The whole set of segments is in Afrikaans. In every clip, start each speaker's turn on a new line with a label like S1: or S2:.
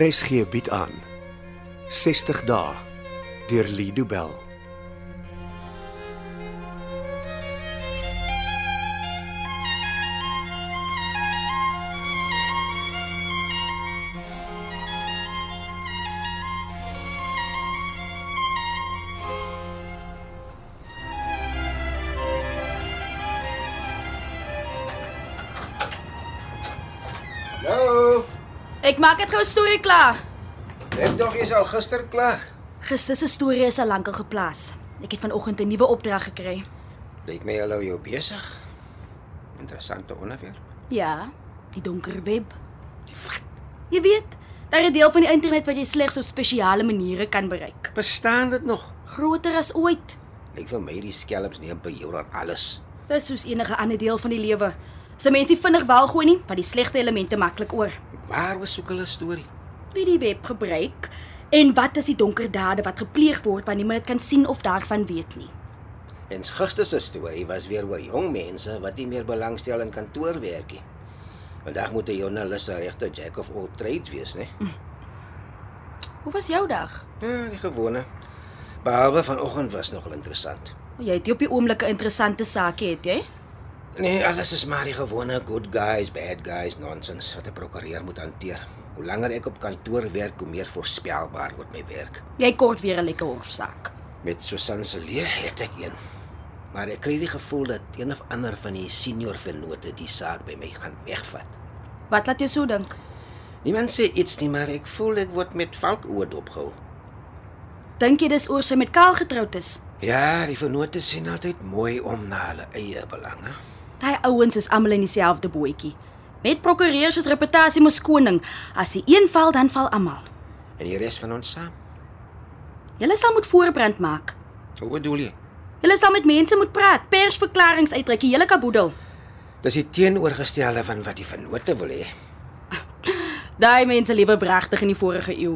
S1: RSG bied aan 60 dae deur Lido Bell.
S2: Hallo.
S3: Ek maak dit gou storie klaar.
S2: Ek dog jy's al gister klaar.
S3: Gister se storie is al lankal geplaas. Ek het vanoggend 'n nuwe opdrag gekry.
S2: Lyk my hulle hou jou besig. Interessante onderwerp.
S3: Ja, die donker web.
S2: Die wat?
S3: Jy weet, daar 'n deel van die internet wat jy slegs op spesiale maniere kan bereik.
S2: Bestaan dit nog?
S3: Groter as ooit.
S2: Lyk vir my die skelms neem by jou dan alles.
S3: Dis soos enige ander deel van die lewe. As 'n mens nie vinnig wel gooi nie, vat die slegte elemente maklik oor.
S2: Waar was soek hulle storie?
S3: Wie die web gebruik en wat is die donker dade wat gepleeg word wanneer niemand dit kan sien of daarvan weet nie.
S2: Ens gister se storie was weer oor jong mense wat nie meer belangstel in kantoorwerkie. Vandag moet 'n joernalis 'n regte jack of all trades wees, né?
S3: Hoe was jou dag?
S2: Ja, die gewone. Behalwe vanoggend was nogal interessant.
S3: Jy het hier op die oomblik 'n interessante saakie het jy?
S2: Nee, alles is maar die gewone good guys, bad guys nonsens wat 'n prokureur moet hanteer. Hoe langer ek op kantoor werk, hoe meer voorspelbaar word my werk.
S3: Jy kort weer 'n lekker hofsaak.
S2: Met Susan se leë het ek een. Maar ek kry die gevoel dat een of ander van die senior vennote die saak by my gaan wegvat.
S3: Wat laat jou so dink?
S2: Niemand sê iets nie, maar ek voel ek word met valkoor dopgehou.
S3: Dink jy dis oor sy met Kaal getroud is?
S2: Ja, die vennote sien altyd mooi om na hulle eie belange.
S3: Daai ouens is almal in dieselfde bootjie. Met prokureurs is reputasie mos koning. As die een val, dan val almal.
S2: En die res van ons saam.
S3: Julle sal moet voorbrand maak.
S2: Hoe bedoel jy?
S3: Julle sal met mense moet praat, persverklaringe uitreik, die hele kaboedel.
S2: Dis die teenoorgestelde van wat die vennote wil hê.
S3: Daai mense lewe pragtig in die vorige eeu.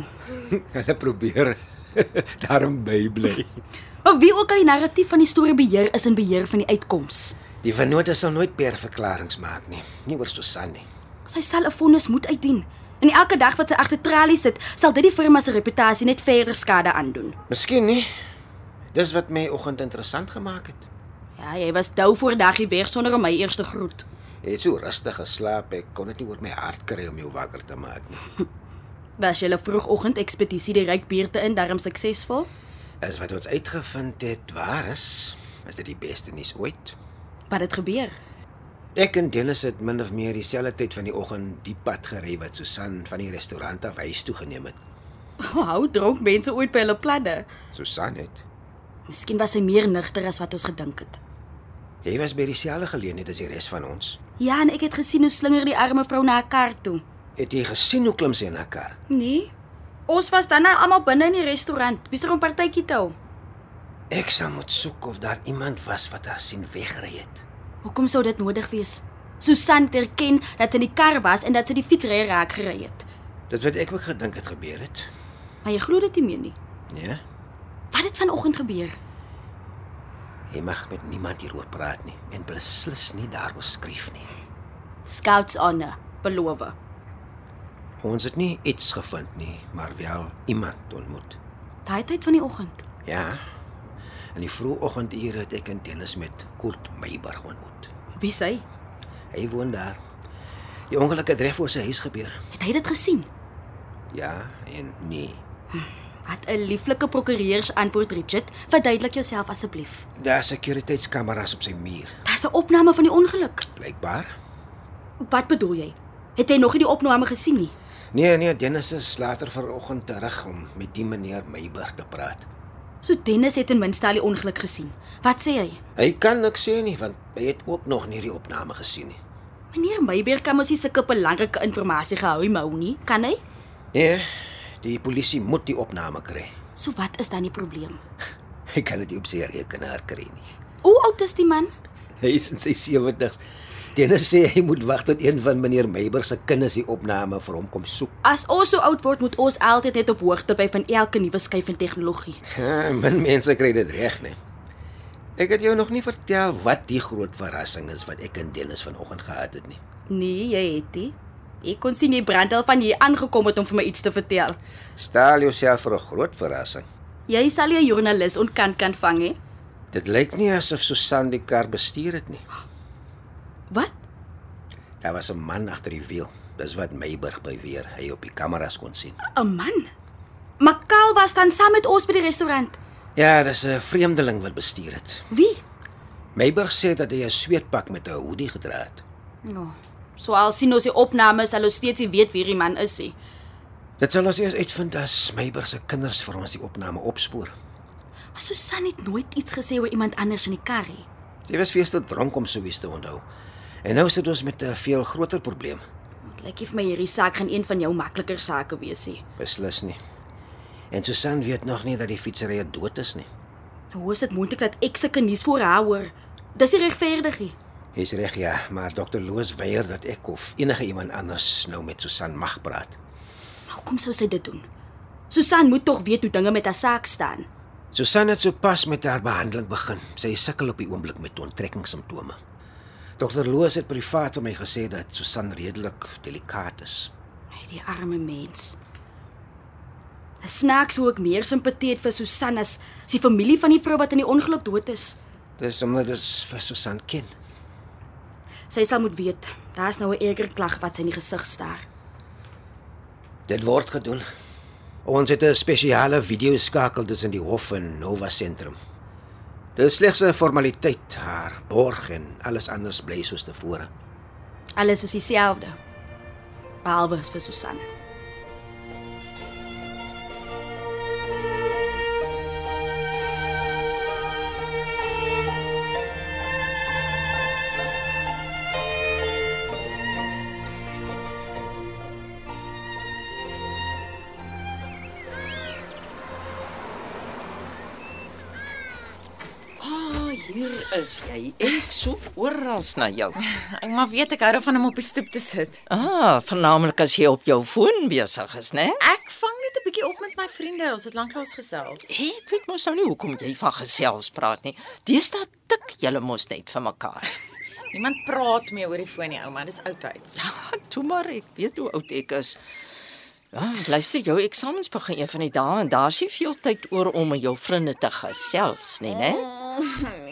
S2: Hulle probeer daarom bybly.
S3: Of wie ook al die narratief van die storie beheer is in beheer van die uitkoms.
S2: Die vennote sal nooit perverklaringe maak nie, nie oor Susan nie.
S3: Sy sal 'n vonnis moet uitdien. En elke dag wat sy agter tralies sit, sal dit die firma se reputasie net verder skade aandoen.
S2: Miskien nie. Dis wat my oggend interessant gemaak het.
S3: Ja, jy was dou voor daggie weg sonder om my eers te groet.
S2: Ek het so rustig geslaap, ek kon dit nie oor my hart kry om jou wakker te maak nie.
S3: Was julle vroegoggend ekspedisie direk buurte in darm suksesvol?
S2: As wat ons uitgevind het waar is, is dit die beste nuus ooit.
S3: Wat het gebeur?
S2: Ek en Dennis het min of meer dieselfde tyd van die oggend die pad gery wat Susan van die restaurant af huis toe geneem het.
S3: Hou dronk mense ooit by hulle planne.
S2: Susan het.
S3: Miskien was hy meer nigter as wat ons gedink het.
S2: Hy was by dieselfde geleentheid as die res van ons.
S3: Ja, en ek het gesien hoe slinger die arme vrou na haar kar toe.
S2: Het jy gesien hoe klim sy in haar kar?
S3: Nee. Ons was dan nou almal binne in die restaurant, besig om partytjie te hou.
S2: Ek sal moet soek of daar iemand was wat haar sien wegry het.
S3: Hoekom sou dit nodig wees? Susan het erken dat sy in die kar was en dat sy die fietsry raak gery het.
S2: Dis wat ek ook gedink het gebeur het.
S3: Maar jy glo dit nie meer nie.
S2: Nee,
S3: Wat het vanoggend gebeur?
S2: jy mag met niemand hieroor praat nie en beslis nie daaroor skryf nie.
S3: Scouts honor, beloof.
S2: Ons het nie iets gevind nie, maar wel iemand ontmoet.
S3: Daai tyd van die oggend.
S2: Ja. In die vroeë oggendure het ek in Dennis met Kurt Meiburg ontmoet.
S3: Wie sê?
S2: Hy woon daar. Die ongeluk het reg voor sy huis gebeur.
S3: Het hy dit gesien?
S2: Ja en nee.
S3: Wat 'n lieflike prokureurs antwoord Richard. Verduidelik jouself asseblief.
S2: Daar's sekuriteitskameras op sy muur,
S3: Daar's 'n opname van die ongeluk.
S2: blykbaar.
S3: Wat bedoel jy? Het jy nog nie die opname gesien nie?
S2: Nee nee, Dennis is later vanoggend terug om met die meneer Meiburg te praat.
S3: So Dennis het ten minste al die ongeluk gesien. Wat sê hy?
S2: Hy kan niks sê nie want hy het ook nog nie die opname gesien nie.
S3: Meneer Meiberg kan mos nie sulke belangrike inligting gehou hê, Mou nie, kan hy?
S2: Nee, die polisie moet die opname kry.
S3: So wat is dan die probleem?
S2: Hy kan dit nie op sy rekenaar kry nie.
S3: Hoe oud is die man?
S2: Hy is in sy 70's. Dennis sê hy moet wag tot een van meneer Meiburg se kinders die opname vir hom kom soek.
S3: As ons so oud word, moet ons altyd net op hoogte bly van elke nuwe skuif in tegnologie.
S2: Ja, min mense kry dit reg nie. Ek het jou nog nie vertel wat die groot verrassing is wat ek in Dennis vanoggend gehad het nie.
S3: Nee, jy het dit. Ek kon sien jy brand al van hier aangekom het om vir my iets te vertel.
S2: Stel jouself vir 'n groot verrassing.
S3: Jy sal jy 'n joernalis onkant kan vang hè?
S2: Dit lyk nie asof Susan die kar bestuur het nie.
S3: Wat?
S2: Daar was 'n man agter die wiel. Dis wat Meiburg beweer hy op die kameras kon sien.
S3: 'n Man? Makal was dan saam met ons by die restaurant.
S2: Ja, dis 'n vreemdeling wat bestuur het.
S3: Wie?
S2: Meiburg sê dat hy 'n sweetpak met 'n hoodie gedra het.
S3: Ja. Oh, so al sien ons die opnames, sal ons steeds nie weet wie hierdie man is nie.
S2: Dit sal ons eers uitvind as Meiburg se kinders vir ons die opname opspoor.
S3: Maar Susan het nooit iets gesê oor iemand anders in die kar nie.
S2: Sy was fees te dronk om so iets te onthou. En nou sit ons met 'n veel groter probleem.
S3: Dit lyk nie vir my hierdie saak gaan een van jou makliker sake wees nie.
S2: Beslis nie. En Susan weet nog nie dat die fietsryer dood is nie.
S3: Hoe Nou is dit moontlik dat ek sulke nuus voor haar hoor? Dis nie regverdig nie.
S2: Jy's reg ja, maar dokter Loos weier dat ek of enige iemand anders nou met Susan mag praat.
S3: Maar hoekom sou sy dit doen? Susan moet tog weet hoe dinge met haar saak staan.
S2: Susan het sopas met haar behandeling begin. Sy sukkel op die oomblik met onttrekkingssimptome. Dokter Loos het privaat vir my gesê dat Susan redelik delikaat is.
S3: Hy die arme mens. Dit snaaks hoe ek meer simpatie het vir Susan as as die familie van die vrou wat in die ongeluk dood is.
S2: Dis omdat dit vir Susan ken.
S3: Sy sal moet weet, daar's nou 'n erger klag wat sy in die gesig staar.
S2: Dit word gedoen. Ons het 'n spesiale videoskakel tussen die hof en Nova sentrum. Dit is slegs 'n formaliteit, haar borg en alles anders bly soos tevore.
S3: Alles is dieselfde. Behalwe vir Susan.
S4: Ah, hier is jy. Ek soek oral na jou.
S5: Ek maar weet ek hou daarvan om op die stoep te sit.
S4: Ah, veralnik as jy op jou foon besig is, né?
S5: Ek vang net 'n bietjie op met my vriende. Ons het lanklaas gesels.
S4: Hey, ek weet mos nou nie hoekom jy van gesels praat nie. Deesdae tik julle mos net vir mekaar.
S5: Niemand praat meer oor die foon nie, ouma. Dis oudtyds.
S4: Nou, Toe maar, ek weet hoe oud ek is. Ja, luister, jou eksamens begin een van die dae en daar's nie veel tyd oor om met jou vriende te gesels nie, né?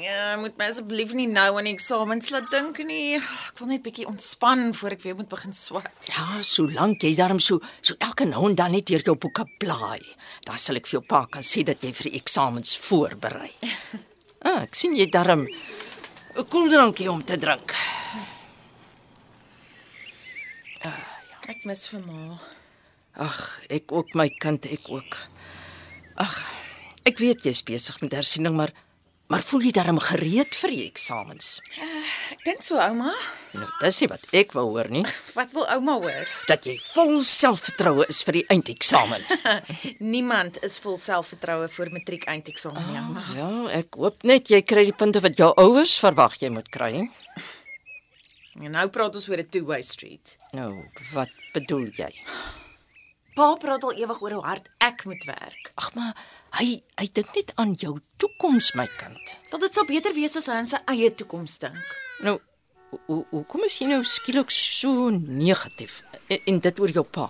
S5: Ja, moet my asseblief nie nou aan die eksamens laat dink nie. Ek wil net bietjie ontspan voor ek weer moet begin swat.
S4: Ja, solank jy daarom so so elke nou en dan net deur jou boeke blaai, dan sal ek vir jou pa kan sê dat jy vir die eksamens voorberei. Ah, ek sien jy daarom 'n koeldrankie om te drink.
S5: Ek mis vir ma.
S4: Ag, ek ook my kind, ek ook. Ag, ek weet jy's besig met hersiening, maar maar voel jy darm gereed vir die eksamens?
S5: Ek dink so, ouma.
S4: Nou, dis nie wat ek wou hoor nie,
S5: Wat wil ouma hoor?
S4: dat jy vol selfvertroue is vir die eindeksamen.
S5: Niemand is vol selfvertroue vir matriek eindeksamen nie, ouma.
S4: Ja, ek hoop net jy kry die punte wat jou ouers verwag jy moet kry.
S5: En nou praat ons oor 'n two-way street.
S4: Nou, wat bedoel jy?
S5: Pa praat al ewig oor hoe hard ek moet werk.
S4: Ag maar, hy hy dink net aan jou toekoms, my kind.
S5: Dat dit sal beter wees as hy aan sy eie toekoms dink.
S4: Nou, hoe hoe kom jy nou skielik so negatief en, en dit oor jou pa?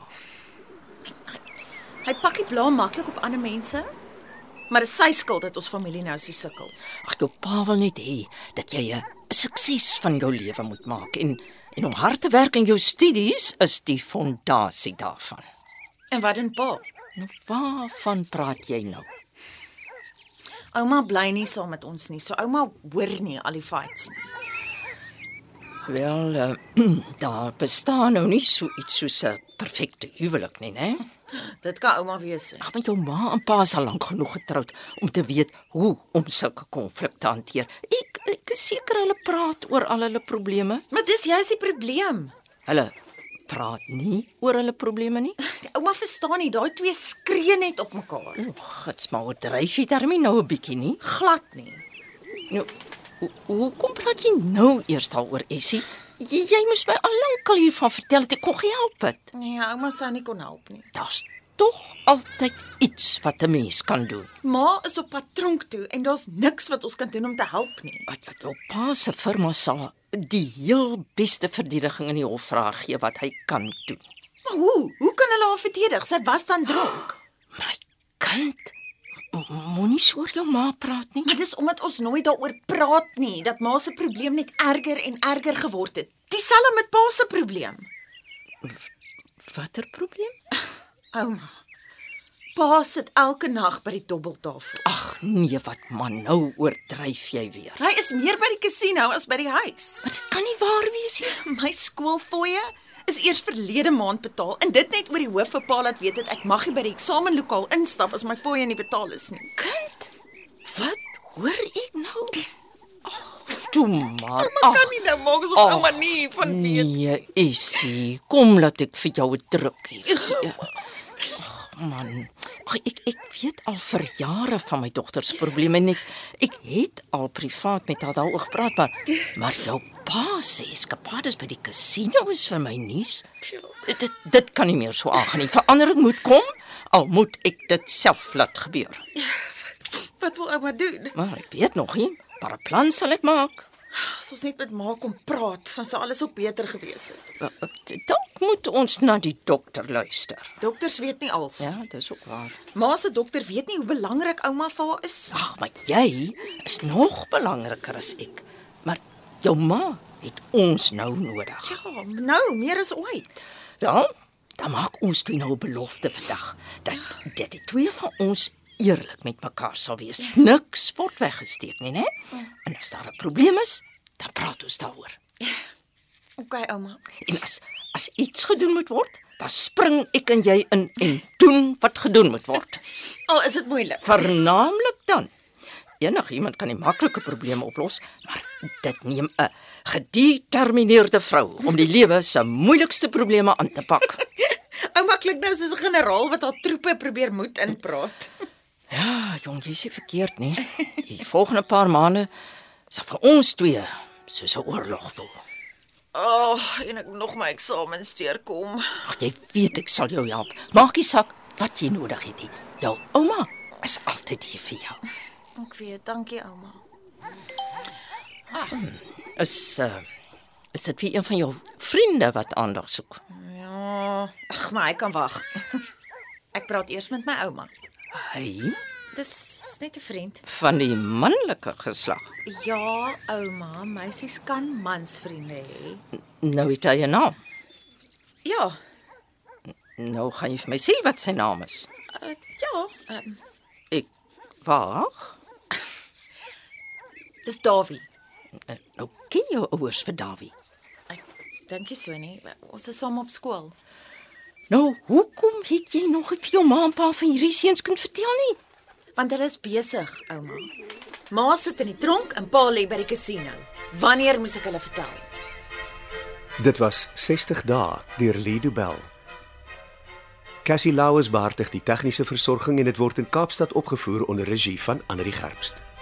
S5: Hy pak die blaam maklik op ander mense. Maar dit is sy skuld dat ons familie nou so sukkel.
S4: Ag jou pa wil net hê dat jy 'n sukses van jou lewe moet maak en en om hard te werk in jou studies is die fondasie daarvan.
S5: En wat doen pa?
S4: Nou waarvan praat jy nou?
S5: Ouma bly nie saam met ons nie. So ouma hoor nie al die fights nie.
S4: Wel, uh, daar bestaan nou nie so iets soos 'n perfekte huwelik nie, né? Nee?
S5: Dit kan ouma wees. hè.
S4: Ag, maar jou ma en pa is al lank genoeg getroud om te weet hoe om sulke konflikte hanteer. Ek ek is seker hulle praat oor al hulle probleme.
S5: Maar dis juist die probleem.
S4: Hulle praat nie oor hulle probleme nie.
S5: Die ouma verstaan nie, daai twee skree net op mekaar.
S4: Gits, maar oordryf jy daarmee nou 'n bietjie nie?
S5: Glad nie.
S4: Nou, ho hoekom praat jy nou eers daaroor, Essie? Jy, jy moes my al lank al hiervan vertel het ek kon gehelp het.
S5: Nee, ouma sou nie kon help nie.
S4: Daar's tog altyd iets wat 'n mens kan doen.
S5: Ma is op pad tronk toe en daar's niks wat ons kan doen om te help nie.
S4: Wat wat jou pa se firma sal die heel beste verdediging in die hof vir haar gee wat hy kan doen.
S5: Maar hoe? Hoe kan hulle haar verdedig? Sy was dan dronk.
S4: My kind, m- moenie so oor jou ma praat nie.
S5: Maar dis omdat ons nooit daaroor praat nie dat ma se probleem net erger en erger geword het. Dieselfde met pa se probleem.
S4: Watter probleem?
S5: Ouma. Pa sit elke nag by die dobbeltafel.
S4: Ag nee, wat man, nou oordryf jy weer.
S5: Hy is meer by die kasino as by die huis.
S4: Maar dit kan nie waar wees nie.
S5: My skoolfooie is eers verlede maand betaal en dit net oor die hoof van pa laat weet het ek mag nie by die eksamenlokaal instap as my fooie nie betaal is nie.
S4: Kind, wat hoor ek nou? Ag, toe maar.
S5: Ek kan nie nou maak asof
S4: Ag,
S5: ouma nie van weet.
S4: Nee, Essie, kom laat ek vir jou 'n drukkie gee. Ag man, Ag, ek ek weet al vir jare van my dogter se probleme en ek ek het al privaat met haar daaroor gepraat, maar maar jou pa se eskapades by die kasino is vir my nuus. Dit dit kan nie meer so aangaan nie. Verandering moet kom, al moet ek dit self laat gebeur.
S5: Wat wil ouma doen?
S4: Maar ek weet nog nie, maar 'n plan sal ek maak.
S5: As ons net met ma kom praat, dan sou alles ook beter gewees het.
S4: Eh, Dalk moet ons na die dokter luister.
S5: Dokters weet nie als. Ja.
S4: Ja, dis ook waar.
S5: Ma se dokter weet nie hoe belangrik ouma vir haar is.
S4: Ag, maar jy is nog belangriker as ek. Maar jou ma het ons nou nodig.
S5: Ja, nou meer as ooit.
S4: Wel, dan maak ons twee nou 'n belofte vandag dat dat die twee van ons eerlik met mekaar sal wees. Niks word weggesteek nie, né? En as daar 'n probleem is, dan praat ons daaroor.
S5: OK, ouma.
S4: En as as iets gedoen moet word, dan spring ek en jy in en doen wat gedoen moet word.
S5: Al is dit moeilik.
S4: Vernaamlik dan. Enigiemand kan die maklike probleme oplos, maar dit neem 'n gedetermineerde vrou om die lewe se moeilikste probleme aan te pak.
S5: Ouma klink nou soos 'n generaal wat haar troepe probeer moed inpraat.
S4: Ja, jong, jy's nie verkeerd nie. Die volgende paar maande sal vir ons twee soos 'n oorlog voel.
S5: Ag, oh, en ek moet nog my eksamen steurkom.
S4: Ag, jy weet ek sal jou help. Maak nie saak wat jy nodig het nie. Jou ouma is altyd hier vir jou.
S5: Ek weet, dankie ouma.
S4: Is uh, is dit wie een van jou vriende wat aandag soek?
S5: Ja, ag, maar hy kan wag. Ek praat eers met my ouma.
S4: Hy
S5: Dis net 'n vriend.
S4: van die manlike geslag.
S5: Ja, ouma, meisies kan mansvriende hê.
S4: Nou weet jy nou.
S5: Ja,
S4: Nou gaan jy vir my sê wat sy naam is.
S5: uh, ja, um,
S4: Ek wag.
S5: dis Dawie.
S4: Eh, Nou ken jou ouers vir Dawie.
S5: Ek dink nie so nie. Ons is saam op skool.
S4: Nou, hoekom het jy nog nie vir jou ma en pa van hierdie seunskind vertel nie?
S5: Want hulle is besig, ouma. Ma sit in die tronk en pa lê by die kasino. Wanneer moes ek hulle vertel?
S1: Dit was 60 dae deur Lido Bell. Cassie Lauers beheer die tegniese versorging en dit word in Kaapstad opgevoer onder regie van Anri Gerbst.